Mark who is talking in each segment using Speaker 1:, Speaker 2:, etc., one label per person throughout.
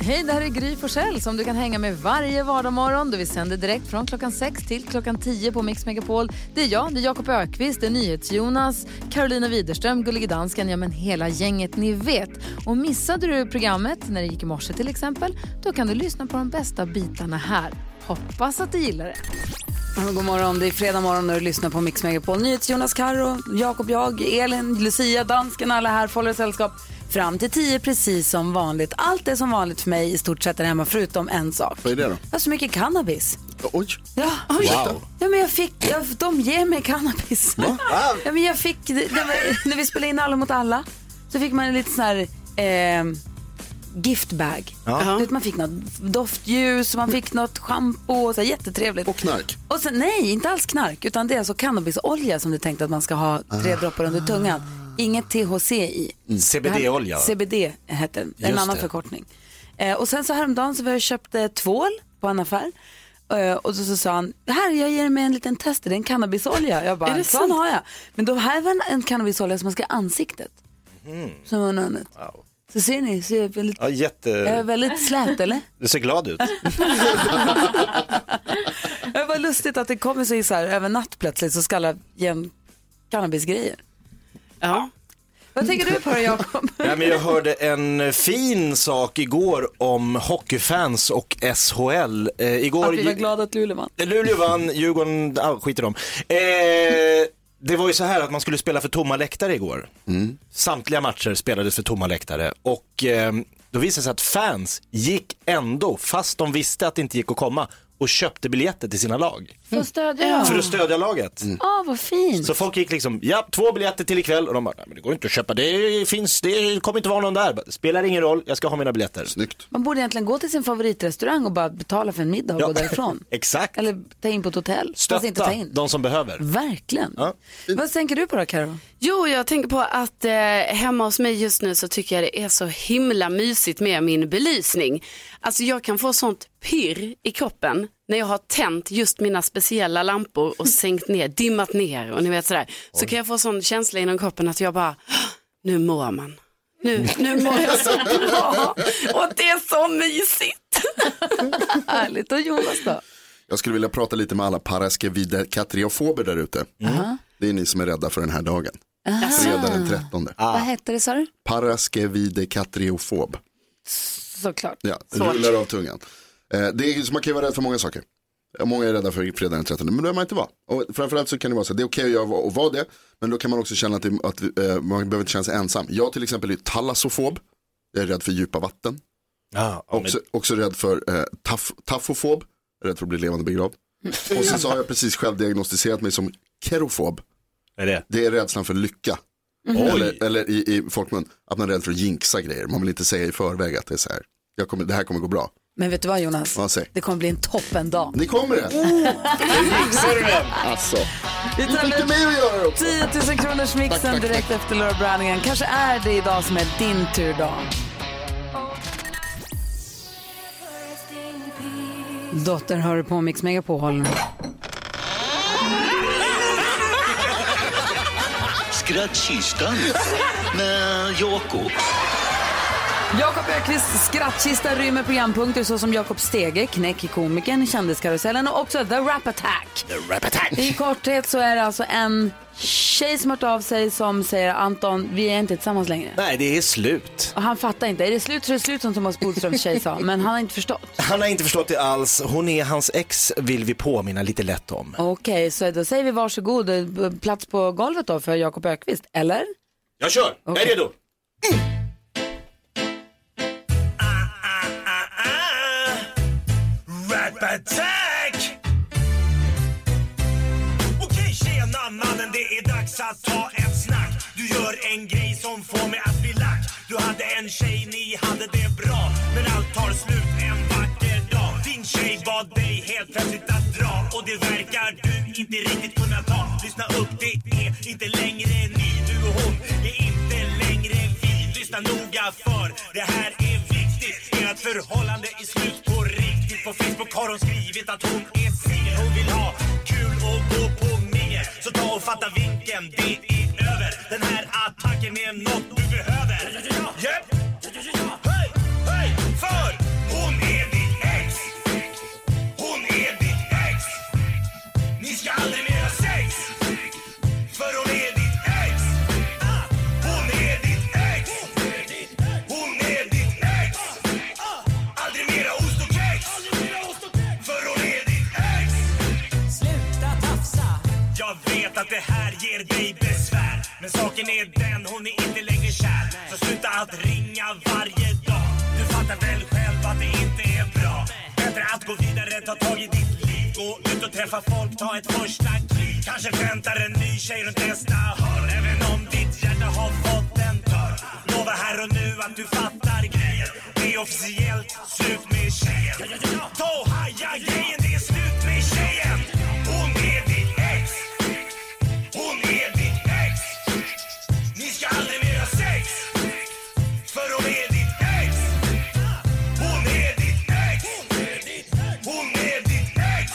Speaker 1: Hej, det här är Gry Forssell som du kan hänga med varje vardagsmorgon. Vi sänder direkt från klockan 6 till klockan 10 på Mix Megapol. Det är jag, det är Jakob Ökvist, det är NyhetsJonas, Carolina Widerström, Gullige Dansken, ja men hela gänget ni vet. Och missade du programmet när det gick i morse till exempel, då kan du lyssna på de bästa bitarna här. Hoppas att du gillar det.
Speaker 2: Mm, God morgon, det är fredag morgon och du lyssnar på Mix Megapol. Nyhets Jonas Karro, Jakob jag, Elin, Lucia, dansken, alla här får hålla sällskap fram till tio precis som vanligt. Allt är som vanligt för mig i stort sett där hemma förutom en sak.
Speaker 3: Vad är det då?
Speaker 2: Jag har så mycket cannabis.
Speaker 3: Oj.
Speaker 2: Ja,
Speaker 3: Wow.
Speaker 2: ja men jag fick, jag, de ger mig cannabis. Ja, men jag fick, det, det var, när vi spelade in Alla mot alla så fick man en liten sån här eh, giftbag.
Speaker 3: Ja.
Speaker 2: Du vet, Man fick något doftljus, man fick något schampo, och så här, jättetrevligt.
Speaker 3: Och knark.
Speaker 2: Och sen, nej, inte alls knark, utan det är alltså cannabisolja som du tänkte att man ska ha
Speaker 4: Ah.
Speaker 2: tre droppar under tungan. Inget THC i.
Speaker 4: CBD-olja. va?
Speaker 2: CBD hette den, en
Speaker 4: Just
Speaker 2: annan
Speaker 4: det.
Speaker 2: förkortning. Eh, och sen så häromdagen så var jag och köpte tvål på en affär. Eh, och så, så sa han, här jag ger mig en liten test, det är en cannabisolja. Jag bara, sån har jag. Men då här var en, en cannabisolja som man ska i ansiktet.
Speaker 4: Mhm.
Speaker 2: Som var något annat. Så ser ni, ser jag väldigt,
Speaker 5: Ja,
Speaker 2: jag är
Speaker 5: jätte...
Speaker 2: väldigt slät eller?
Speaker 5: Du ser glad ut.
Speaker 2: Det var lustigt att det kommer sig så här över natt plötsligt så ska alla ge en cannabisgrejer.
Speaker 6: Ja.
Speaker 2: Vad tänker du på då Jakob?
Speaker 5: Nej, men jag hörde en fin sak igår om hockeyfans och SHL. Eh, igår... Eh,
Speaker 2: Att vi var glada att Luleå vann.
Speaker 5: Luleå vann, Djurgården, ah, skit i dem. Eh, det var ju så här att man skulle spela för tomma läktare igår. Samtliga matcher spelades för tomma läktare och eh, då visade det sig att fans gick ändå, fast de visste att det inte gick att komma, och köpte biljetter till sina lag.
Speaker 1: Får jag stödja dem?
Speaker 5: För att stödja laget.
Speaker 1: Ja, vad fint.
Speaker 5: Så folk gick liksom, ja, två biljetter till ikväll och de bara, nej men det går inte att köpa, det finns, det kommer inte vara någon där. Bara, Spelar ingen roll, jag ska ha mina biljetter.
Speaker 3: Snyggt.
Speaker 2: Man borde egentligen gå till sin favoritrestaurang och bara betala för en middag och
Speaker 5: Ja.
Speaker 2: gå därifrån.
Speaker 5: Exakt.
Speaker 2: Eller ta in på ett hotell. Fast inte ta
Speaker 5: Stötta
Speaker 2: in.
Speaker 5: de som behöver.
Speaker 2: Verkligen.
Speaker 5: Ja.
Speaker 2: Vad tänker du på då Karo?
Speaker 6: Jo, jag tänker på att eh, hemma hos mig just nu så tycker jag det är så himla mysigt med min belysning. Alltså jag kan få sånt pirr i kroppen när jag har tänt just mina speciella lampor och sänkt ner, dimmat ner och ni vet sådär. Så kan jag få sån känsla inom kroppen att jag bara, "Åh, nu mår man. Nu, nu mår jag så bra och det är så mysigt.
Speaker 2: Härligt. Och Jonas då?
Speaker 3: Jag skulle vilja prata lite med alla paraskevida katriofober där ute. Det är ni som är rädda för den här dagen. Fredag den 13.
Speaker 2: Vad hette det sa du?
Speaker 3: Paraskevide katriofob.
Speaker 2: Såklart.
Speaker 3: Ja, rullar av tungan. Eh, det är, så man kan ju vara rädd för många saker. Eh, Många är rädda för fredag den 13, men det behöver man inte vara. Och framförallt så kan det vara så att det är okej att göra och vara det, men då kan man också känna att, det, att eh, man behöver inte känna sig ensam. Jag till exempel är talassofob, jag är rädd för djupa vatten.
Speaker 5: Ja, ja, men-
Speaker 3: Också, också rädd för eh, taf, tafofob, rädd för att bli levande begravd. Och sen så har jag precis självdiagnostiserat mig som kerofob.
Speaker 5: Vad är det?
Speaker 3: Det är rädslan för lycka.
Speaker 2: Mm-hmm.
Speaker 5: Oj,
Speaker 3: Eller, eller i, i folkmun, att man är rädd för att jinxa grejer. Man vill inte säga i förväg att det är så här. Jag kommer, det här kommer gå bra.
Speaker 2: Men vet du vad Jonas?
Speaker 3: Vad säger?
Speaker 2: Det kommer bli en toppen dag.
Speaker 3: Ni kommer Oh. det. Alltså,
Speaker 2: Vi tar
Speaker 3: lite
Speaker 2: med
Speaker 3: mer att göra också.
Speaker 2: 10 000 kronors
Speaker 3: Tack,
Speaker 2: mixen
Speaker 3: tack,
Speaker 2: direkt efter Laura Branigan. Kanske är det idag som är din tur då. Dotter hör du på Mix Megapol.
Speaker 7: Skrattkistan med Jakob.
Speaker 2: Jakob Öqvists skrattkista rymmer programpunkter såsom Jakob Stege, Knäck i komikern, Kändiskarusellen och också The Rap Attack. The Rap Attack. I korthet så är det alltså en tjej som hört av sig som säger Anton, vi är inte tillsammans längre.
Speaker 5: nej det är slut.
Speaker 2: Och han fattar inte. Är det slut så är det slut som Thomas Bodströms tjej sa, men han har inte förstått.
Speaker 5: Han har inte förstått det alls, hon är hans ex vill vi påminna lite lätt om.
Speaker 2: Okej, så då säger vi varsågod. eh, b- Plats på golvet då för Jakob Ökvist, eller?
Speaker 5: Jag kör, jag är redo.
Speaker 8: Ah, Rap attack! Okej tjena mannen, det är dags att ta ett snack Du gör en grej som får mig att bli lack Du hade en tjej, ni hade det bra Men allt tar slut en vacker dag Din tjej bad dig helt plötsligt att dra Och det verkar du inte riktigt kunna ta Lyssna upp, det är inte längre ni Du och hon är inte längre vi Lyssna noga för det här är viktigt Ert förhållande är slut på riktigt På Facebook har hon skrivit att hon är singel Hon vill ha kul och gå på mingel Så ta och fatta vinken, det är över Den här attacken är något du behöver Japp! Höj, höj, för Saken är den, hon är inte längre kär. Så sluta att ringa varje dag. Du fattar väl själv att det inte är bra. Bättre att gå vidare, ta tag i ditt liv. Gå ut och träffa folk, ta ett första kliv. Kanske väntar en ny tjej runt nästa hörn. Även om ditt hjärta har fått en törn. Lova här och nu att du fattar grejen. Det är officiellt, slut med tjejen. Ta och haja grejen, det är slut med tjejen. Hon är ditt ex. Hon är ditt ex. Ni ska aldrig mer ha sex. För hon är ditt ex. Hon är ditt ex. Hon är ditt ex.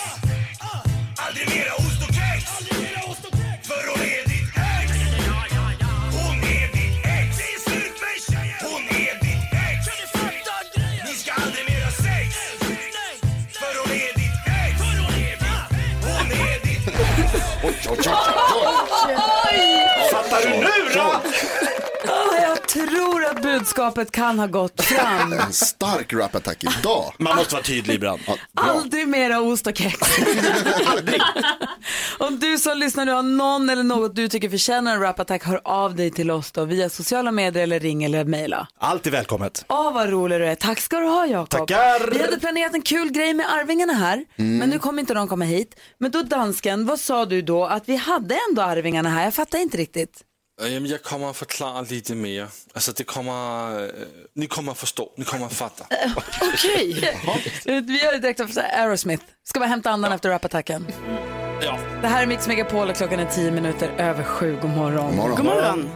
Speaker 8: Aldrig mera ost och kex. För hon är ditt ex. Hon är ditt ex. Det är slut med tjejen. Hon är ditt ex. Ni ska aldrig mer ha sex. För hon är ditt ex. Hon är ditt ex.
Speaker 3: Oj, oj, oj, oj.
Speaker 5: Fattar du nu då?
Speaker 2: Åh, Ah, jag tror att budskapet kan ha gått fram.
Speaker 3: En stark rapattack idag.
Speaker 5: Man måste vara tydlig ibland.
Speaker 3: Ja, bra.
Speaker 2: Aldrig mera ost och kex. Om du som lyssnar nu har någon eller något du tycker förtjänar en rapattack, hör av dig till oss då via sociala medier eller ring eller mejla.
Speaker 5: Allt är välkommet.
Speaker 2: Åh, vad rolig du är. Tack ska du ha, Jakob.
Speaker 5: Tackar.
Speaker 2: Vi hade planerat en kul grej med Arvingarna här, men nu kommer inte de komma hit. Men då dansken, vad sa du då? Att vi hade ändå Arvingarna här, jag fattar inte riktigt.
Speaker 4: Øh, Jamen, jeg kommer og forklarer lige det mere. Altså, Alltså, det kommer... Øh, ni kommer at forstå. Ni kommer at fatte.
Speaker 6: Okej.
Speaker 2: Vi gör det direkt efter Aerosmith. Ska bara hämta andan efter rapattacken.
Speaker 4: Ja.
Speaker 2: Det här är Mix Megapol och klockan är tio minuter över sju. God morgon.
Speaker 3: morgon.
Speaker 6: God morgon.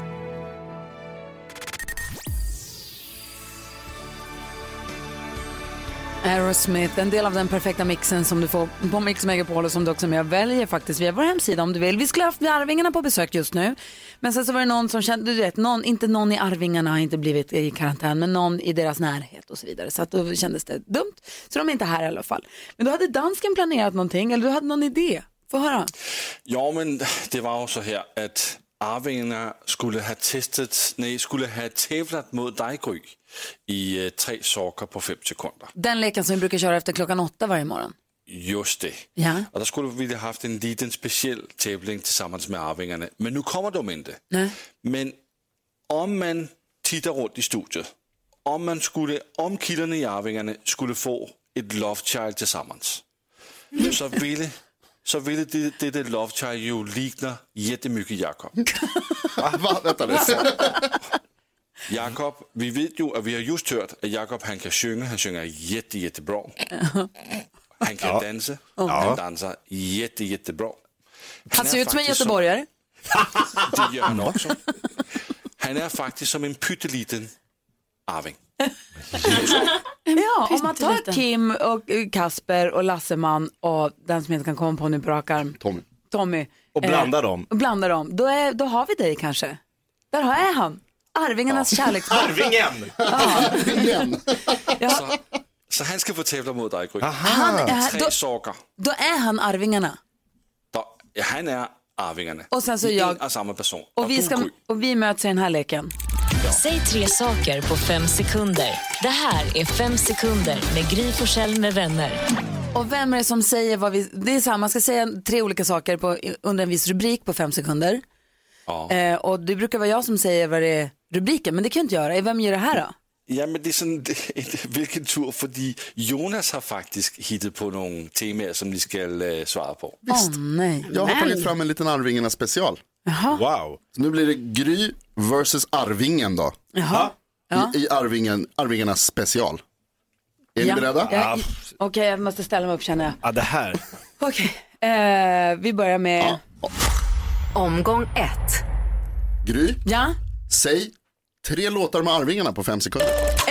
Speaker 2: Aerosmith, en del av den perfekta mixen som du får på Mix Megapol och som du också är med och väljer faktiskt via vår hemsida om du vill. Vi skulle haft vi Arvingarna på besök just nu, men sen så var det någon som kände, du vet, någon, inte någon i Arvingarna har inte blivit i karantän, men någon i deras närhet och så vidare. Så att då kändes det dumt, så de är inte här i alla fall. Men då hade dansken planerat någonting, eller du hade någon idé. Få höra.
Speaker 4: Jo, men det var jo så her, at arvingerne skulle have testet... Nej, skulle have tævlet mod dig, Gry, i øh, tre sokker på 5 sekunder.
Speaker 2: Den leken som vi brukar köra efter klockan åtta varje morgon.
Speaker 4: Just det.
Speaker 2: Ja.
Speaker 4: Og der skulle vi have haft en liten speciel tævling tilsammans med arvingerne. Men nu kommer de ikke.
Speaker 2: Nej.
Speaker 4: Men om man titter rundt i studiet, om man skulle, om kilderne i Arvingerne skulle få et love child tilsammens, så ville, så ville det, dette love child jo ligner Jettemykke Jakob.
Speaker 3: Va, vänta nu.
Speaker 4: Jakob, vi ved jo, at vi har just hørt, at Jakob han kan synge, han synger jette, jette bra. Han kan danse, han danser jette, jette bra.
Speaker 2: Han ser ut som en
Speaker 4: faktisk
Speaker 2: göteborgare.
Speaker 4: Det gør han også. Han er faktisk som en pytteliten arving.
Speaker 2: Ja, om man tar
Speaker 6: Pytteliten.
Speaker 2: Kim och eh, Kasper och Lasseman och den som jag inte kan komma på nu på rak arm,
Speaker 3: Tommy.
Speaker 2: Tommy. Eh,
Speaker 5: Och blanda dem.
Speaker 2: Och blandar dem, då, är, då har vi dig kanske. Där har jag han. Arvingarnas kärleksbarn.
Speaker 5: Arvingen!
Speaker 3: Igen.
Speaker 4: Så, så han skal få tævler mod dig, Gry.
Speaker 2: Han är, då,
Speaker 4: Tre sokker.
Speaker 2: då är han Arvingarna.
Speaker 4: Der, ja, han er arvingerne.
Speaker 2: Og så- så
Speaker 4: I
Speaker 2: jeg-
Speaker 4: en og samme person.
Speaker 2: Och vi,
Speaker 4: du,
Speaker 2: ska,
Speaker 5: oh,
Speaker 4: Gry,
Speaker 2: och vi möts i den här leken.
Speaker 9: Säg tre saker på fem sekunder. Det här är Fem sekunder med Gry Forssell med vänner.
Speaker 2: Och vem är det som säger vad vi... Det är så här, man ska säga tre olika saker på, under en viss rubrik på fem sekunder.
Speaker 4: Ja.
Speaker 2: Eh, och det brukar vara jag som säger vad det är rubriken, men det kan jag inte göra. Vem gör det här då?
Speaker 4: Jamen, det er sådan det- et, hvilken tur, fordi Jonas har faktisk hittet på nogle temaer, som de skal øh, svare på.
Speaker 2: Åh nej.
Speaker 3: Jag har tagit fram en liten Arvingarna special.
Speaker 5: Wow.
Speaker 3: Så nu blir det Gry versus Arvingen då.
Speaker 2: Jaha.
Speaker 3: I, i Arvingen, Arvingarna special. Är
Speaker 2: Ja.
Speaker 3: ni beredda?
Speaker 2: Ja, i- Okej, jag måste ställa mig upp känner jag.
Speaker 5: Ja, det här.
Speaker 2: Okej, eh, vi börjar med... Ja.
Speaker 9: Omgång ett.
Speaker 3: Gry, säg tre låtar med Arvingarna på fem sekunder.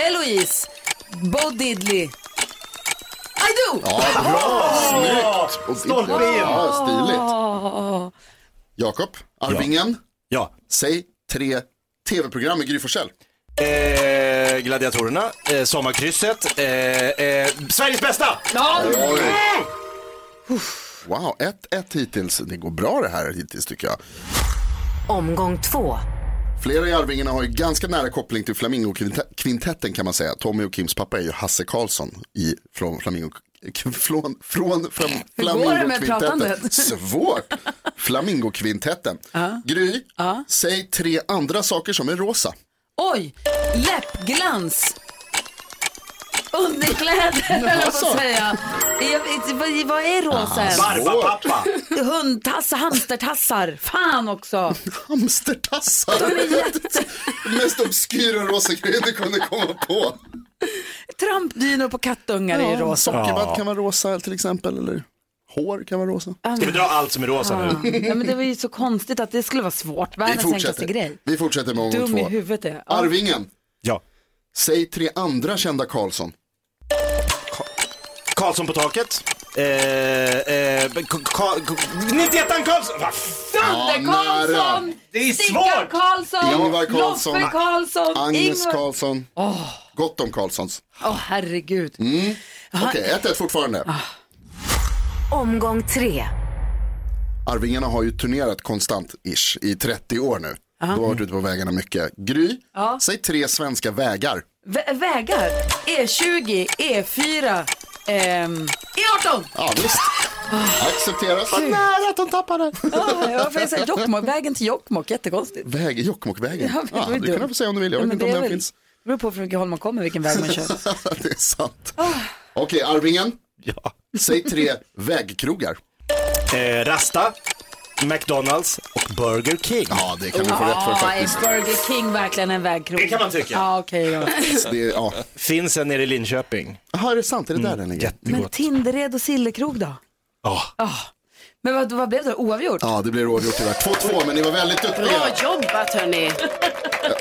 Speaker 2: Eloise, Bo Diddley. I do!
Speaker 3: Ja, bra! Snyggt! Och-
Speaker 5: Stolpe in.
Speaker 3: Ja, stiligt. Jakob, Arvingen,
Speaker 5: Ja.
Speaker 3: säg tre tv-program med Gry Forssell.
Speaker 5: Eh, gladiatorerna, eh, Sommarkrysset, eh, eh, Sveriges bästa!
Speaker 3: Wow, 1-1 hittills. Det går bra det här hittills tycker jag.
Speaker 9: Omgång två.
Speaker 3: Flera i Arvingarna har ju ganska nära koppling till Flamingokvintetten kan man säga. Tommy och Kims pappa är ju Hasse Karlsson i, från Flamingo, från, från fram,
Speaker 1: går det med
Speaker 3: flamingokvintetten.
Speaker 1: pratandet?
Speaker 3: Svårt. Flamingokvintetten. Gry, säg tre andra saker som är rosa.
Speaker 2: Oj, läppglans. Underkläder, höll jag på
Speaker 3: Alltså.
Speaker 2: att säga. Jag, vad, vad är
Speaker 3: Ah,
Speaker 2: rosa ens?
Speaker 5: Barbapappa.
Speaker 2: Hundtassar, hamstertassar. Fan också.
Speaker 3: Hamstertassar. Mest obskyra rosa grejen du kunde komma på.
Speaker 2: Trampdynor på kattungar är
Speaker 3: Ja,
Speaker 2: rosa.
Speaker 3: Sockervadd kan vara rosa till exempel. Eller hår kan vara rosa.
Speaker 5: Ska vi dra allt som är rosa nu?
Speaker 2: Ja, men det var ju så konstigt att det skulle vara svårt.
Speaker 3: Vi
Speaker 2: Världens enklaste
Speaker 3: fortsätter.
Speaker 2: grej.
Speaker 3: Vi fortsätter med omgång
Speaker 2: Dum i
Speaker 3: två. Ah,
Speaker 2: huvudet är jag.
Speaker 3: Arvingen,
Speaker 5: Ja.
Speaker 3: säg tre andra kända Karlsson.
Speaker 5: Karlsson på taket. Eh, eh, Ka- Ka- Ka- 91 Karlsson! Vad
Speaker 2: Sander Karlsson!
Speaker 5: Det är
Speaker 2: Stickan
Speaker 5: svårt!
Speaker 2: Karlsson!
Speaker 3: Ingvar Carlsson.
Speaker 2: Loffe Karlsson!
Speaker 3: Agnes
Speaker 2: Ingvar-
Speaker 3: Karlsson. Gott om Karlssons.
Speaker 2: Åh, herregud.
Speaker 3: Mm. Okej, 1-1 fortfarande.
Speaker 2: Ah.
Speaker 10: Omgång tre.
Speaker 3: Arvingarna har ju turnerat konstant ish i 30 år nu. Du
Speaker 2: Ah.
Speaker 3: har varit ute på vägarna mycket. Gry, säg tre svenska vägar.
Speaker 2: Vä- vägar. E E20, E4, ehm, E18.
Speaker 3: Ja, visst.
Speaker 2: Ah.
Speaker 3: Accepteras.
Speaker 2: Nära att de tappade. Ja, jag får säga Jokkmokk, vägen till Jokkmokk, jättekonstigt.
Speaker 3: Väg, Jokkmokkvägen.
Speaker 2: Ja, men det
Speaker 3: Ja,
Speaker 2: var ju
Speaker 3: du
Speaker 2: dumt.
Speaker 3: kan få säga om du vill, jag
Speaker 2: Ja,
Speaker 3: vet
Speaker 2: men
Speaker 3: inte om
Speaker 2: det
Speaker 3: den
Speaker 2: är väl-
Speaker 3: finns.
Speaker 2: Det beror på från vilket håll man kommer, vilken väg man kör.
Speaker 3: det är sant.
Speaker 2: Ah.
Speaker 3: Okej, Arvingen,
Speaker 5: Ja.
Speaker 3: säg tre vägkrogar.
Speaker 5: Eh, Rasta, McDonalds och Burger King.
Speaker 3: Ja, det kan du få rätt för
Speaker 2: Ah, Ja, är
Speaker 3: faktiskt.
Speaker 2: Burger King verkligen en vägkrog?
Speaker 5: Det kan man tycka.
Speaker 2: Ja, okej då.
Speaker 3: Det är, ja.
Speaker 5: Finns en nere i Linköping.
Speaker 3: Jaha, är det sant? Är det där den ligger?
Speaker 2: Men Tindered och Sillekrog då?
Speaker 5: Ja.
Speaker 2: Men vad, vad blev det? Oavgjort?
Speaker 3: Ja, det blir oavgjort tyvärr. 2-2, men ni var väldigt
Speaker 6: Bra
Speaker 3: duktiga.
Speaker 6: jobbat hörni.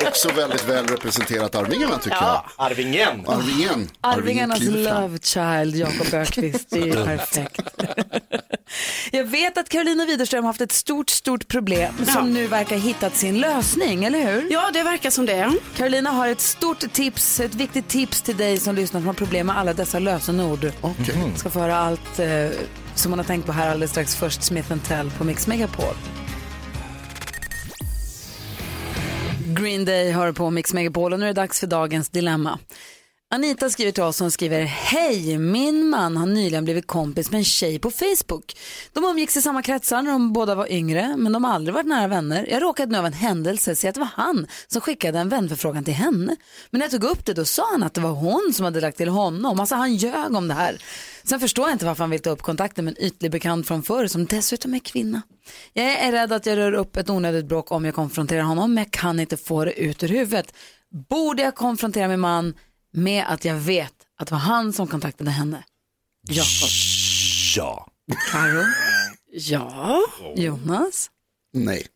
Speaker 3: Också väldigt väl representerat Arvingarna tycker
Speaker 5: Arvingen.
Speaker 3: jag. Arvingen.
Speaker 2: Arvingarnas
Speaker 3: kliver fram.
Speaker 2: love child, Jakob Ökvist. Det är ju perfekt. Jag vet att Carolina Widerström har haft ett stort, stort problem som nu verkar ha hittat sin lösning, eller hur?
Speaker 6: Ja, det verkar som det.
Speaker 2: Carolina har ett stort tips, ett viktigt tips till dig som lyssnar som har problem med alla dessa lösenord.
Speaker 3: Okej.
Speaker 2: Ska få höra allt eh, som man har tänkt på här alldeles strax. Först Smith Tell på Mix Megapol. Green Day hör på Mix Megapol och nu är det dags för dagens dilemma. Anita skriver till oss som skriver Hej, min man har nyligen blivit kompis med en tjej på Facebook. De umgicks i samma kretsar när de båda var yngre men de har aldrig varit nära vänner. Jag råkade nu av en händelse se att det var han som skickade en vänförfrågan till henne. Men när jag tog upp det då sa han att det var hon som hade lagt till honom. Alltså han ljög om det här. Sen förstår jag inte varför han vill ta upp kontakten med en ytlig bekant från förr som dessutom är kvinna. Jag är rädd att jag rör upp ett onödigt bråk om jag konfronterar honom men jag kan inte få det ut ur huvudet. Borde jag konfrontera min man med att jag vet att det var han som kontaktade henne? Jakob,
Speaker 5: Ja.
Speaker 2: Karo,
Speaker 6: Ja,
Speaker 2: Jonas?
Speaker 3: Nej.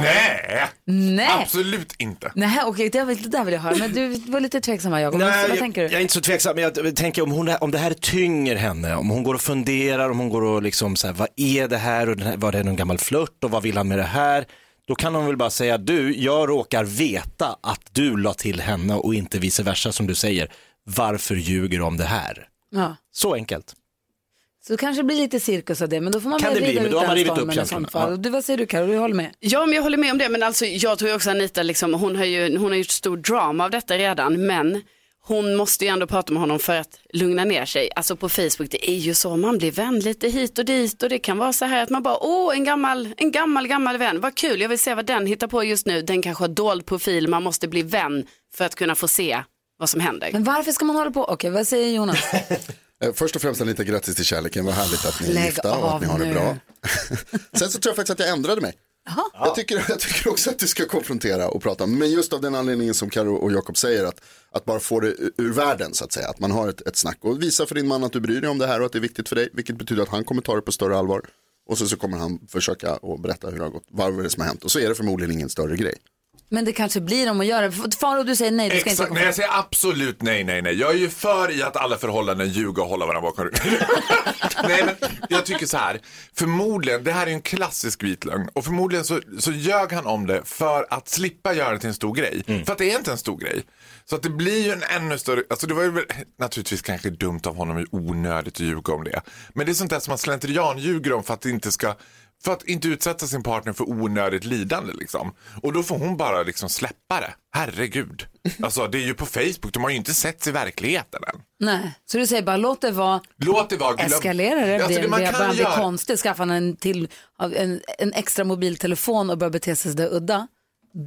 Speaker 11: Nej,
Speaker 2: Nej,
Speaker 11: absolut inte.
Speaker 2: Nej okej, det, vill- det där vill jag höra. Men du var lite tveksam här Jakob.
Speaker 5: Nej,
Speaker 2: Vad, vad
Speaker 5: jag,
Speaker 2: tänker du?
Speaker 5: jag är inte så tveksam, men jag tänker om, hon, om det här tynger henne, om hon går och funderar, om hon går och liksom så här, vad är det här och den här, var det någon gammal flört och vad vill han med det här? Då kan hon väl bara säga, du, jag råkar veta att du la till henne och inte vice versa som du säger. Varför ljuger du om det här?
Speaker 2: Ja.
Speaker 5: Så enkelt.
Speaker 2: Så kanske det blir lite cirkus av det, men då får man
Speaker 5: Kan
Speaker 2: väl
Speaker 5: det bli,
Speaker 2: rida
Speaker 5: men
Speaker 2: ut
Speaker 5: då har
Speaker 2: den
Speaker 5: man rivit upp
Speaker 2: stormen i
Speaker 5: känslorna.
Speaker 2: sånt fall.
Speaker 5: Ja.
Speaker 2: Du, vad säger du Karo? Du håller med?
Speaker 6: Ja, men jag håller med om det. Men alltså, jag tror ju också Anita, liksom, hon, har ju, hon har gjort stor drama av detta redan. Men hon måste ju ändå prata med honom för att lugna ner sig. Alltså på Facebook, det är ju så, man blir vän lite hit och dit. Och det kan vara så här att man bara, åh, en gammal, en gammal, gammal vän. Vad kul, jag vill se vad den hittar på just nu. Den kanske har dold profil, man måste bli vän för att kunna få se vad som händer.
Speaker 2: Men varför ska man hålla på? Okej, vad säger Jonas?
Speaker 3: Eh, Först och främst en liten grattis till kärleken, vad härligt att ni är
Speaker 2: Lägg
Speaker 3: gifta och
Speaker 2: av
Speaker 3: att ni har det
Speaker 2: nu.
Speaker 3: bra. Sen så tror jag faktiskt att jag ändrade mig. Jag tycker, jag tycker också att du ska konfrontera och prata, men just av den anledningen som Karo och Jakob säger, att, att bara få det ur- ur världen så att säga, att man har ett, ett snack och visa för din man att du bryr dig om det här och att det är viktigt för dig, vilket betyder att han kommer ta det på större allvar. Och sen så kommer han försöka och berätta hur det har gått, varför det är som har hänt. Och så är det förmodligen ingen större grej.
Speaker 2: Men det kanske blir om att göra det. Faro, du säger nej, du ska
Speaker 11: Exakt,
Speaker 2: inte
Speaker 11: nej jag säger absolut nej, nej, nej. Jag är ju för i att alla förhållanden ljuga och hålla varandra bakom ryggen. nej, men jag tycker så här. Förmodligen, det här är ju en klassisk vit lögn och förmodligen så, så ljög han om det för att slippa göra det till en stor grej. För att det är inte en stor grej. Så att det blir ju en ännu större, alltså det var ju väl- naturligtvis kanske dumt av honom i onödigt att ljuga om det. Men det är sånt där som man slentrian ljuger om för att det inte ska för att inte utsätta sin partner för onödigt lidande. Liksom. Och då får hon bara liksom släppa det. Herregud. Alltså det är ju på Facebook, de har ju inte setts i verkligheten än.
Speaker 2: Nej, så du säger bara låt det vara.
Speaker 11: Låt det vara. Glöm-
Speaker 2: Eskalerar det,
Speaker 11: Alltså,
Speaker 2: det, det
Speaker 11: man
Speaker 2: bara
Speaker 11: kan
Speaker 2: blir
Speaker 11: göra-
Speaker 2: konstigt, skaffar han en, till, av en, en extra mobiltelefon och börjar bete sig sådär udda,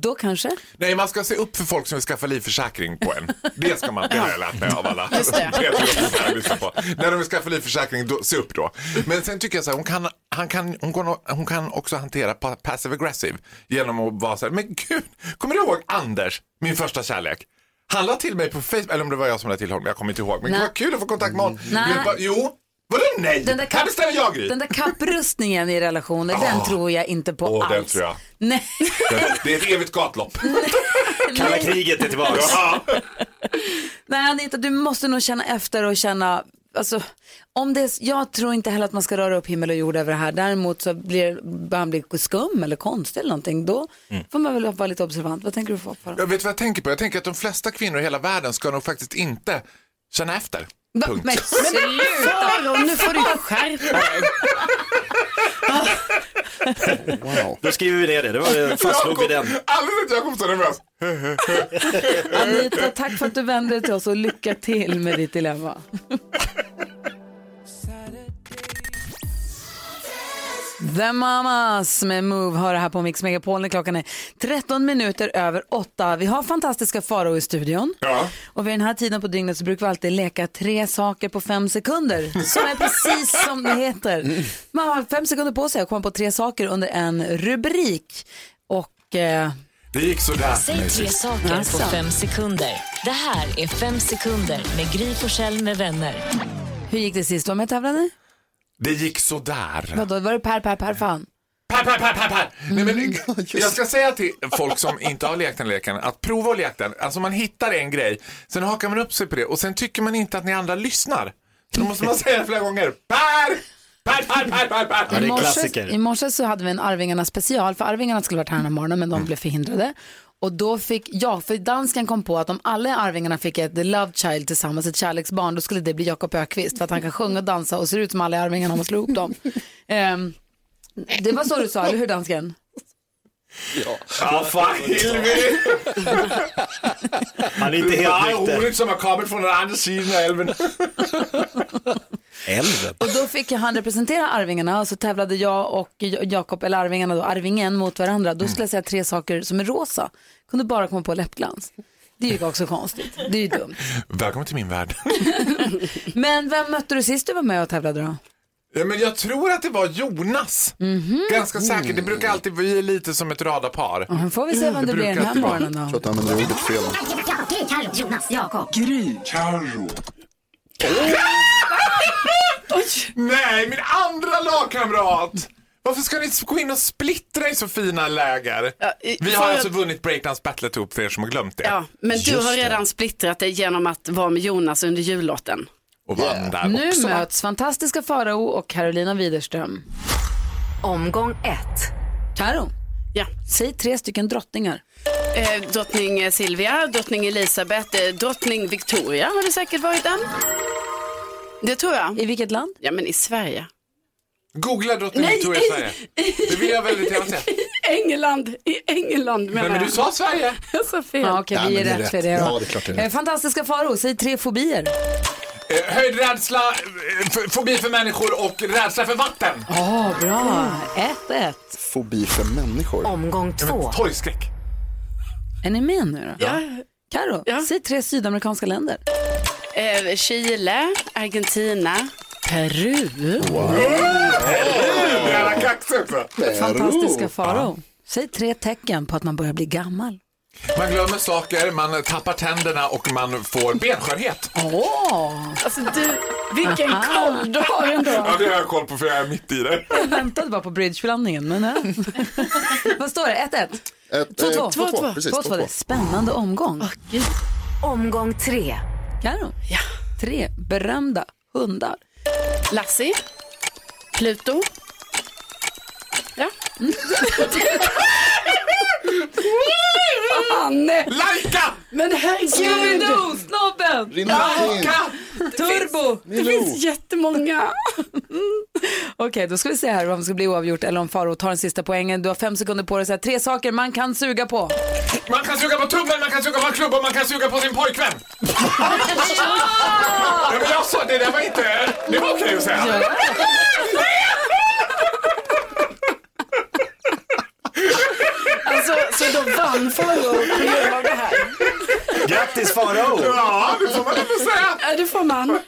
Speaker 2: då kanske.
Speaker 11: Nej, man ska se upp för folk som vill skaffa livförsäkring på en. Det ska man, det har jag lärt mig av alla.
Speaker 8: Just det.
Speaker 11: Det är det jag lyssnar på. När de vill skaffa livförsäkring, då, se upp då. Men sen tycker jag så här, hon kan, han kan, hon kan, hon kan också hantera pa- passive aggressive genom att vara så här, men gud, kommer du ihåg Anders, min första kärlek? Han la till mig på Facebook, eller om det var jag som la till honom, jag kommer inte ihåg. Men
Speaker 2: Nej.
Speaker 11: vad kul att få kontakt med honom.
Speaker 2: Nej.
Speaker 11: Men bara, Jo, vadå nej?
Speaker 2: Den där,
Speaker 11: här bestämmer jag Gry.
Speaker 2: den där kapprustningen i relationer, den
Speaker 11: Ah.
Speaker 2: tror jag inte på
Speaker 11: Åh, den
Speaker 2: alls.
Speaker 11: tror jag.
Speaker 2: Nej.
Speaker 11: Det- Det är ett evigt gatlopp.
Speaker 5: Kalla kriget är tillbaka.
Speaker 11: Ja.
Speaker 2: Nej Anita, du måste nog känna efter och känna, alltså, om det, är- jag tror inte heller att man ska röra upp himmel och jord över det här. Däremot så blir man blir skum eller konstig eller någonting, då
Speaker 11: Mm.
Speaker 2: får man väl vara lite observant. Vad tänker du få på?
Speaker 11: Jag vet vad jag tänker på? Jag tänker att de flesta kvinnor i hela världen ska nog faktiskt inte känna efter. Punkt.
Speaker 8: Men
Speaker 6: sluta, Ron, nu får du skärpa dig.
Speaker 5: Då skriver vi ner det, det var, fastslog vi den.
Speaker 11: Alldeles inte, jag kommer så nervös.
Speaker 2: Anita, tack för att du vände dig till oss och lycka till med ditt dilemma. The Mamas med Move hör det här på Mix Megapol när klockan är 13 minuter över 8. Vi har fantastiska faror i studion.
Speaker 11: Ja.
Speaker 2: Och vid den här tiden på dygnet så brukar vi alltid leka tre saker på fem sekunder. Som är precis som det heter. Man har fem sekunder på sig att komma på tre saker under en rubrik. Och... Eh,
Speaker 11: Det gick sådär.
Speaker 9: Säg tre saker
Speaker 2: Alltså.
Speaker 9: på fem sekunder. Det här är fem sekunder med Gry Forssell med vänner.
Speaker 2: Hur gick det sist du var med och tävlade?
Speaker 11: Det gick sådär.
Speaker 2: Vadå, var det Per, Per, Per fan?
Speaker 11: Per, per, per, per, per. Nej, men, jag ska säga till folk som inte har lekt den leken att prova att leka den. Alltså man hittar en grej, sen hakar man upp sig på det och sen tycker man inte att ni andra lyssnar. Så då måste man säga flera gånger. Per! Per, per, per, per, per.
Speaker 2: I morse, I morse så hade vi en Arvingarna special, för Arvingarna skulle varit här den här morgonen men de blev förhindrade. Och då fick jag, för dansken kom på att om alla i Arvingarna fick ett love child tillsammans, ett kärleksbarn, då skulle det bli Jakob Ökvist för att han kan sjunga och dansa och ser ut som alla i Arvingarna om man slår ihop dem. Ehm, det var så du sa, eller hur dansken?
Speaker 4: Ja.
Speaker 11: Vad fan helvete!
Speaker 5: Han är inte helt
Speaker 11: Nej,
Speaker 5: nykter.
Speaker 11: roligt som har kommit från den andra sidan av älven.
Speaker 5: Älven?
Speaker 2: Och då fick han representera Arvingarna och så tävlade jag och J- Jakob, eller Arvingarna då, Arvingen mot varandra. Då skulle jag säga tre saker som är rosa. Kunde bara komma på läppglans. Det är ju också konstigt. Det är ju dumt.
Speaker 11: Välkommen till min värld.
Speaker 2: Men vem mötte du sist du var med och tävlade då?
Speaker 11: Ja, men jag tror att det var Jonas.
Speaker 6: Mhm.
Speaker 11: Ganska säkert. Det brukar alltid bli lite som ett radarpar.
Speaker 2: Mm, får vi se vem det blir den här morgonen då.
Speaker 3: tror att du använder ordet fel.
Speaker 10: Gry, Carro, Jonas, Jakob.
Speaker 11: Gry, Carro. Nej, min andra lagkamrat! Varför ska ni gå in och splittra i så fina läger?
Speaker 6: i-
Speaker 11: Vi
Speaker 6: får
Speaker 11: har
Speaker 6: jag-
Speaker 11: alltså vunnit Breakdance Battle upp för er som har glömt det.
Speaker 6: Ja, men du
Speaker 11: Just
Speaker 6: har
Speaker 11: det.
Speaker 6: redan splittrat dig genom att vara med Jonas under jullotten.
Speaker 11: Och vann där
Speaker 2: Nu
Speaker 11: också. va?
Speaker 2: möts fantastiska Farao och Carolina Widerström. Omgång ett. Karo,
Speaker 6: ja.
Speaker 2: säg tre stycken drottningar.
Speaker 6: Eh, drottning Silvia, drottning Elisabeth, eh, drottning Victoria har det säkert varit en. Det tror jag.
Speaker 2: I vilket land?
Speaker 6: Ja, men i Sverige.
Speaker 11: Googla drottning
Speaker 6: Nej,
Speaker 11: Victoria i Sverige. Det vill jag väldigt gärna se.
Speaker 6: England, i England menar
Speaker 11: Nej, men du sa Sverige.
Speaker 6: Jag sa fel.
Speaker 2: Ja, okej, vi är rätt, för det.
Speaker 11: Ja, det är klart det är rätt.
Speaker 2: Eh, Fantastiska Farao, säg tre fobier.
Speaker 11: Eh, Höjdrädsla, eh, f- fobi för människor och rädsla för vatten.
Speaker 2: Ja, bra. 1-1.
Speaker 3: Fobi för människor.
Speaker 2: Omgång två.
Speaker 11: Torgskräck.
Speaker 2: Är ni med nu då?
Speaker 6: Ja.
Speaker 2: Karo, säg tre sydamerikanska länder.
Speaker 6: Eh, Chile, Argentina,
Speaker 2: Peru.
Speaker 6: Wow.
Speaker 11: Jävla kaxigt. va?
Speaker 2: Fantastiska Farao, säg tre tecken på att man börjar bli gammal.
Speaker 11: Man glömmer saker, man tappar tänderna och man får benskörhet.
Speaker 2: Åh!
Speaker 6: Alltså du, vilken koll du har ändå.
Speaker 11: Ja, det har jag koll på för jag är mitt i det.
Speaker 2: Jag väntade bara på bridgeblandningen. Men, ja. Vad står det? 1-1?
Speaker 3: Ett, eh,
Speaker 2: 2-2.
Speaker 3: 2-2, precis,
Speaker 2: 2-2. Det är
Speaker 3: 2-2.
Speaker 2: Spännande omgång. Omgång tre. Karo. Ja. Tre berömda hundar.
Speaker 6: Lassie, Pluto. Ja. Fan!
Speaker 11: Laika!
Speaker 6: Men herregud!
Speaker 2: Scooby-Doo, snobben!
Speaker 6: Rinna-
Speaker 2: Turbo!
Speaker 6: Det finns jättemånga.
Speaker 12: Okej, då ska vi se här om det ska bli oavgjort eller om Faro tar den sista poängen. Du har fem sekunder på dig att säga tre saker man kan suga på.
Speaker 11: Man kan suga på tummen, man kan suga på klubban, man kan suga på sin pojkvän. ja, men jag sa, det där var inte... Det var okej att säga.
Speaker 6: Alltså, så då vann Farao på grund av det här.
Speaker 13: Grattis Farao!
Speaker 11: Ja, det får man inte säga.
Speaker 6: Ja, det får man.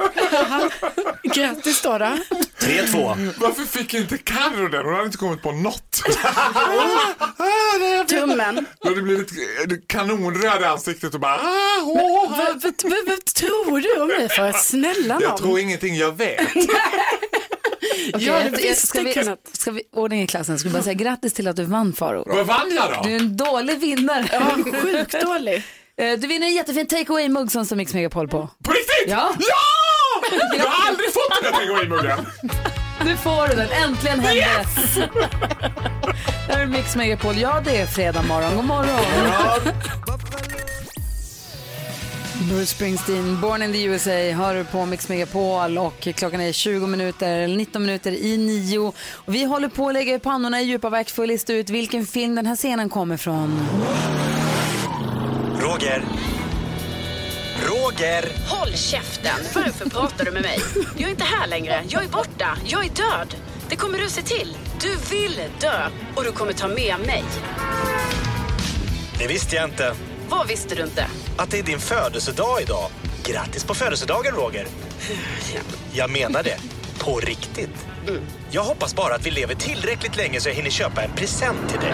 Speaker 6: Grattis då. då.
Speaker 13: 3-2.
Speaker 11: Varför fick inte Carro den? Hon hade inte kommit på något.
Speaker 6: Tummen.
Speaker 11: Då hade det blivit kanonröd i ansiktet och bara... "Ah, åh,
Speaker 6: Vad vad- vad- vad tror du om mig för? Snälla nån.
Speaker 11: Jag tror ingenting jag vet.
Speaker 6: Okej,
Speaker 2: Ja,
Speaker 6: jag
Speaker 2: det
Speaker 6: visste
Speaker 2: ska vi,
Speaker 6: kunnat.
Speaker 2: ska vi ordning i klassen? Ska vi bara säga grattis till att du vann Faro.
Speaker 11: Vad vann jag då?
Speaker 2: Du är en dålig vinnare.
Speaker 6: Ja, sjukt dålig.
Speaker 2: Eh, Du vinner en jättefin takeaway-mugg som står Mix Megapol på.
Speaker 11: På riktigt?
Speaker 2: Ja.
Speaker 11: Jag har aldrig fått den där takeaway-muggen.
Speaker 2: Nu får du den, äntligen hände yes! det. här är Mix Megapol. Ja, det är fredag morgon. God morgon. Bruce Springsteen, Born in the USA, hör du på Mix Megapol och klockan är 20 minuter, eller 19 minuter i nio. Och vi håller på att lägga i pannorna i djupa verk för att lista ut vilken film den här scenen kommer från.
Speaker 8: Roger. Roger.
Speaker 6: Håll käften! Varför pratar du med mig? Jag är inte här längre. Jag är borta. Jag är död. Det kommer du se till. Du vill dö och du kommer ta med mig.
Speaker 5: Det visste jag inte.
Speaker 6: Vad visste du inte?
Speaker 5: Att det är din födelsedag idag. Grattis på födelsedagen, Roger. Jag menar det. På riktigt. Jag hoppas bara att vi lever tillräckligt länge så jag hinner köpa en present till dig.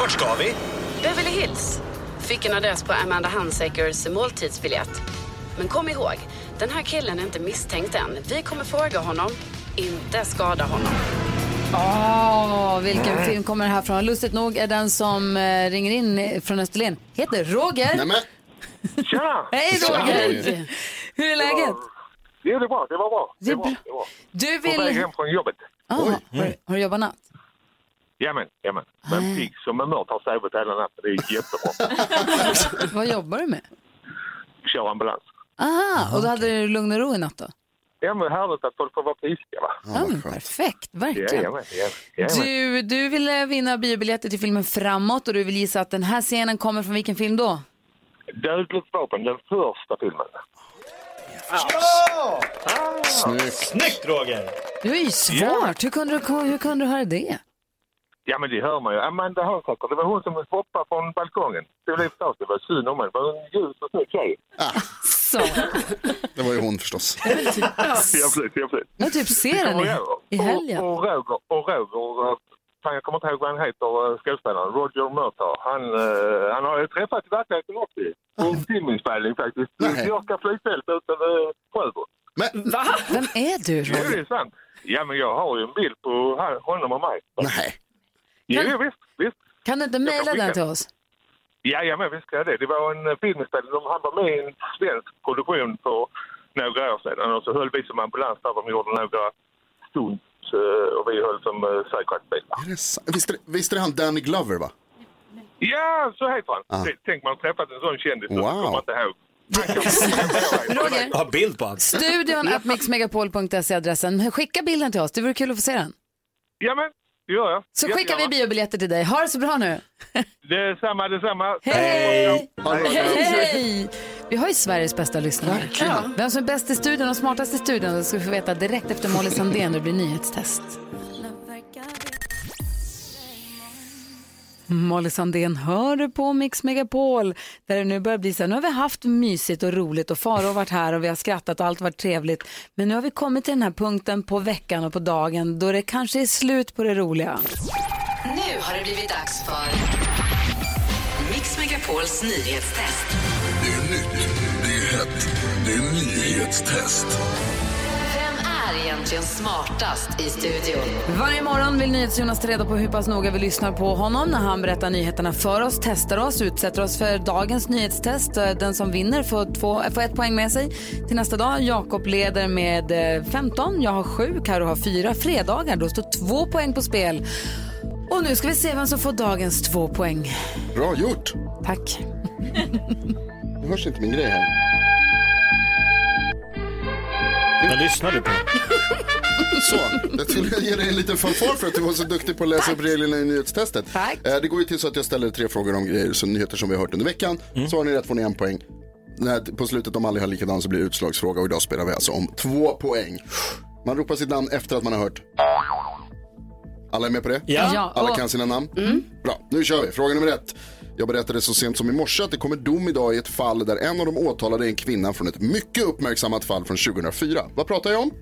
Speaker 5: Vart ska vi?
Speaker 6: Beverly Hills. Fick en adress på Amanda Hansekers måltidsbiljett. Men kom ihåg, den här killen är inte misstänkt än. Vi kommer fråga honom, inte skada honom.
Speaker 2: Åh, vilken film kommer det här från? Lustigt nog är den som eh, ringer in från Österlen heter Roger.
Speaker 3: Nämen.
Speaker 14: Tjena!
Speaker 2: Hej Roger! Hur är läget?
Speaker 14: Det är bra, det var bra.
Speaker 2: Det är bra.
Speaker 14: bra.
Speaker 2: Du
Speaker 14: På väg
Speaker 2: vill...
Speaker 14: hem från jobbet.
Speaker 2: Ah, har, har du jobbat natt?
Speaker 14: Jajamän, jajamän.
Speaker 2: Ah.
Speaker 14: Men pigg som en mört har sovit hela natten. Det är jättebra.
Speaker 2: Vad jobbar du med?
Speaker 14: Kör ambulans. Ah,
Speaker 2: Aha, och då hade du lugn och ro i natt då?
Speaker 14: Ja men härligt att folk får vara friska va?
Speaker 2: Ja, men perfekt, verkligen.
Speaker 14: Jajamän, jajamän, jajamän.
Speaker 2: Du, du ville vinna biobiljetter till filmen Framåt och du vill gissa att den här scenen kommer från vilken film då?
Speaker 14: Dödligt vapen, den första filmen.
Speaker 5: Ja!
Speaker 3: Snyggt.
Speaker 5: Snyggt, Roger!
Speaker 2: Det var ju svårt. Hur kunde du, hur kunde du höra det?
Speaker 14: Ja men det hör man ju. Amanda Hörnsaker, det var hon som hoppade från balkongen. Det blev förstås, det var synd om henne. Det var en ljus och snygg tjej.
Speaker 2: Så.
Speaker 3: Det var ju hon förstås.
Speaker 14: Jag flytt, jag flytt.
Speaker 2: Jag typ ser den i, i helgen.
Speaker 14: Och, och Roger, och Roger, eh, fan jag kommer inte ihåg vad han heter, eh, skådespelaren, Roger Murtagh. Han, eh, han har ju träffat i verkligheten också ju. På en filminspelning faktiskt.
Speaker 3: Nej.
Speaker 14: I Björka flygfält utanför Sjöbo.
Speaker 3: Men,
Speaker 2: Vem är du
Speaker 14: Jo, det
Speaker 2: Roger?
Speaker 14: är sant. Ja, men jag har ju en bild på han- honom och mig.
Speaker 3: nej.
Speaker 14: Jo,
Speaker 2: Kan-
Speaker 14: visst, visst.
Speaker 2: Kan du inte
Speaker 14: Jag
Speaker 2: mejla
Speaker 14: kan
Speaker 2: den
Speaker 14: skicka.
Speaker 2: till oss?
Speaker 14: Jajamän, visst ska jag det. Det var en eh, filminspelning. De- Han var med i en svensk produktion för några år sedan. Och så höll vi som ambulans där. De gjorde några stunts eh, och vi höll som eh, säkerhetsbilar.
Speaker 3: Är det sa- Visst är det- visst är det han Danny Glover va?
Speaker 14: Ja, så heter han.
Speaker 3: Ah.
Speaker 14: Tänk man har träffat en sån kändis.
Speaker 3: Wow.
Speaker 14: Wow. kommer jag inte ihåg.
Speaker 2: Roger,
Speaker 13: Jag har bild på honom.
Speaker 2: studion at mixmegapol.se adressen. Skicka bilden till oss, det vore kul att få se den.
Speaker 14: Jajamän, det gör jag.
Speaker 2: Så skickar vi biobiljetter till dig. Ha det så bra nu.
Speaker 14: Detsamma, detsamma.
Speaker 2: Hej!
Speaker 3: Ha det bra.
Speaker 2: Hej! Vi har ju Sveriges bästa lyssnare. Ja. Vem som är bäst i studion och smartast i studion det ska vi få veta direkt efter Molly Sandén när det blir nyhetstest. Molly Sandén hör du på Mix Megapol där det nu börjar bli så här, nu har vi haft mysigt och roligt och Farao har varit här och vi har skrattat och allt har varit trevligt. Men nu har vi kommit till den här punkten på veckan och på dagen då det kanske är slut på det roliga.
Speaker 9: Nu har det blivit dags för Mix Megapols nyhetstest.
Speaker 8: Det är nytt, det är hett, det är nyhetstest.
Speaker 9: Vem är egentligen smartast i studion?
Speaker 2: Varje morgon vill NyhetsJonas ta reda på hur pass noga vi lyssnar på honom när han berättar nyheterna för oss, testar oss, utsätter oss för dagens nyhetstest. Eh, Den som vinner får, två, äh, får ett poäng med sig till nästa dag. Jakob leder med eh, 15, jag har 7, Karo har 4. Fredagar, då står två poäng på spel. Och nu ska vi se vem som får dagens två poäng.
Speaker 3: Bra gjort.
Speaker 2: Tack.
Speaker 3: Nu hörs inte min grej här.
Speaker 13: Vad lyssnar du på?
Speaker 3: Så, jag skulle ge dig en liten fanfar för att du var så duktig på att läsa upp reglerna i nyhetstestet. Eh, Det går ju till så att jag ställer tre frågor om grejer, så nyheter som vi har hört under veckan. Svarar ni rätt får ni en poäng. När, på slutet om alla har likadan så blir det utslagsfråga och idag spelar vi alltså om två poäng. Man ropar sitt namn efter att man har hört. Alla är med på det?
Speaker 2: Ja. Ja,
Speaker 3: Alla
Speaker 2: och-
Speaker 3: kan sina namn?
Speaker 2: Mm.
Speaker 3: Bra, nu kör vi. Fråga nummer ett. Jag berättade så sent som i morse att det kommer dom idag i ett fall där en av de åtalade är en kvinna från ett mycket uppmärksammat fall från 2004. Vad pratar jag om?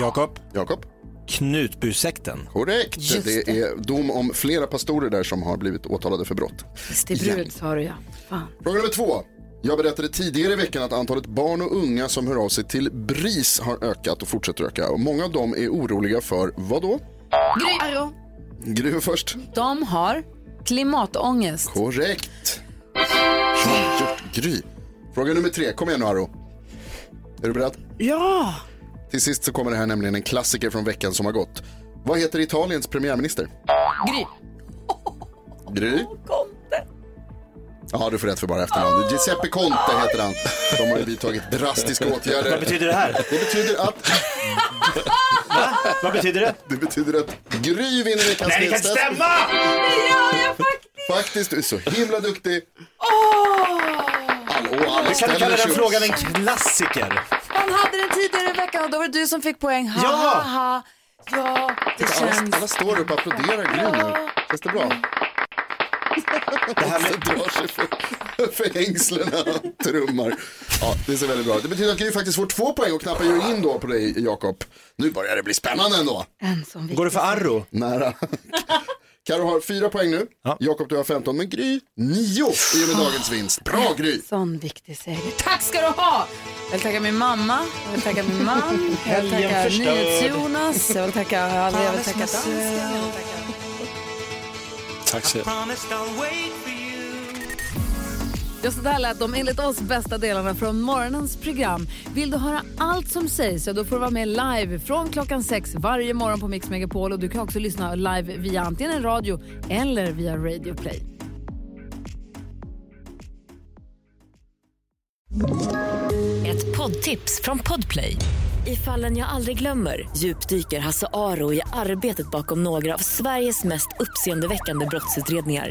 Speaker 13: Jakob.
Speaker 3: Jakob.
Speaker 13: Knutbysekten.
Speaker 3: Korrekt.
Speaker 2: Just
Speaker 3: det.
Speaker 2: det.
Speaker 3: är dom om flera pastorer där som har blivit åtalade för brott.
Speaker 2: Visst är brud, sa du ja. Fan.
Speaker 3: Fråga nummer två. Jag berättade tidigare i veckan att antalet barn och unga som hör av sig till BRIS har ökat och fortsätter öka. Och många av dem är oroliga för vad då?
Speaker 2: Gry,
Speaker 3: Gry var först.
Speaker 2: de har klimatångest.
Speaker 3: Korrekt. Bra gjort, Gry. Fråga nummer tre. Kom igen nu, Arro. Är du beredd?
Speaker 6: Ja!
Speaker 3: Till sist så kommer det här nämligen en klassiker från veckan som har gått. Vad heter Italiens premiärminister?
Speaker 2: Gry.
Speaker 3: Gry? Ja, du får rätt för bara efternamn. Giuseppe Conte heter han. De har ju vidtagit drastiska åtgärder.
Speaker 13: Vad betyder det här?
Speaker 3: Det betyder att...
Speaker 13: Vad betyder det?
Speaker 3: Det betyder att Gry vinner veckans
Speaker 13: Nej, det kan inte
Speaker 3: nyhetstest.
Speaker 13: stämma!
Speaker 3: Faktiskt, du är så himla duktig. Hallå, alla
Speaker 13: Du kan
Speaker 3: ställer
Speaker 13: kalla den
Speaker 3: sig upp.
Speaker 13: frågan en klassiker.
Speaker 2: Han hade den tidigare i veckan och då var det du som fick poäng. Ha,
Speaker 3: Ja!
Speaker 2: ha, ha. Ja, det
Speaker 3: Titta,
Speaker 2: känns...
Speaker 3: alla, alla står upp och applåderar Gry nu. Känns det bra? Det här med... drar sig för, för hängslena och trummar. Ja, det ser väldigt bra ut. Det betyder att Gry faktiskt får två poäng och knappar ju in då på dig, Jakob. Nu börjar det bli spännande ändå.
Speaker 2: En som vi...
Speaker 13: Går det för Arro?
Speaker 3: Nära. Karo har fyra poäng nu. Jakob, du har 15, men Gry nio i och med dagens vinst. Bra Gry!
Speaker 6: Sån viktig seger.
Speaker 2: Tack ska du ha! Jag vill tacka min mamma, jag vill tacka min man, jag vill
Speaker 6: Helgen
Speaker 2: tacka
Speaker 6: förstörd.
Speaker 2: NyhetsJonas, jag vill tacka alla, jag vill tacka dansken.
Speaker 15: Tack så
Speaker 2: Just det där lät de enligt oss bästa delarna från morgonens program. Vill du höra allt som sägs så då får du vara med live från klockan sex varje morgon på Mix Megapol och du kan också lyssna live via antingen radio eller via Radio Play.
Speaker 9: Ett poddtips från Podplay. I fallen jag aldrig glömmer djupdyker Hasse Aro i arbetet bakom några av Sveriges mest uppseendeväckande brottsutredningar.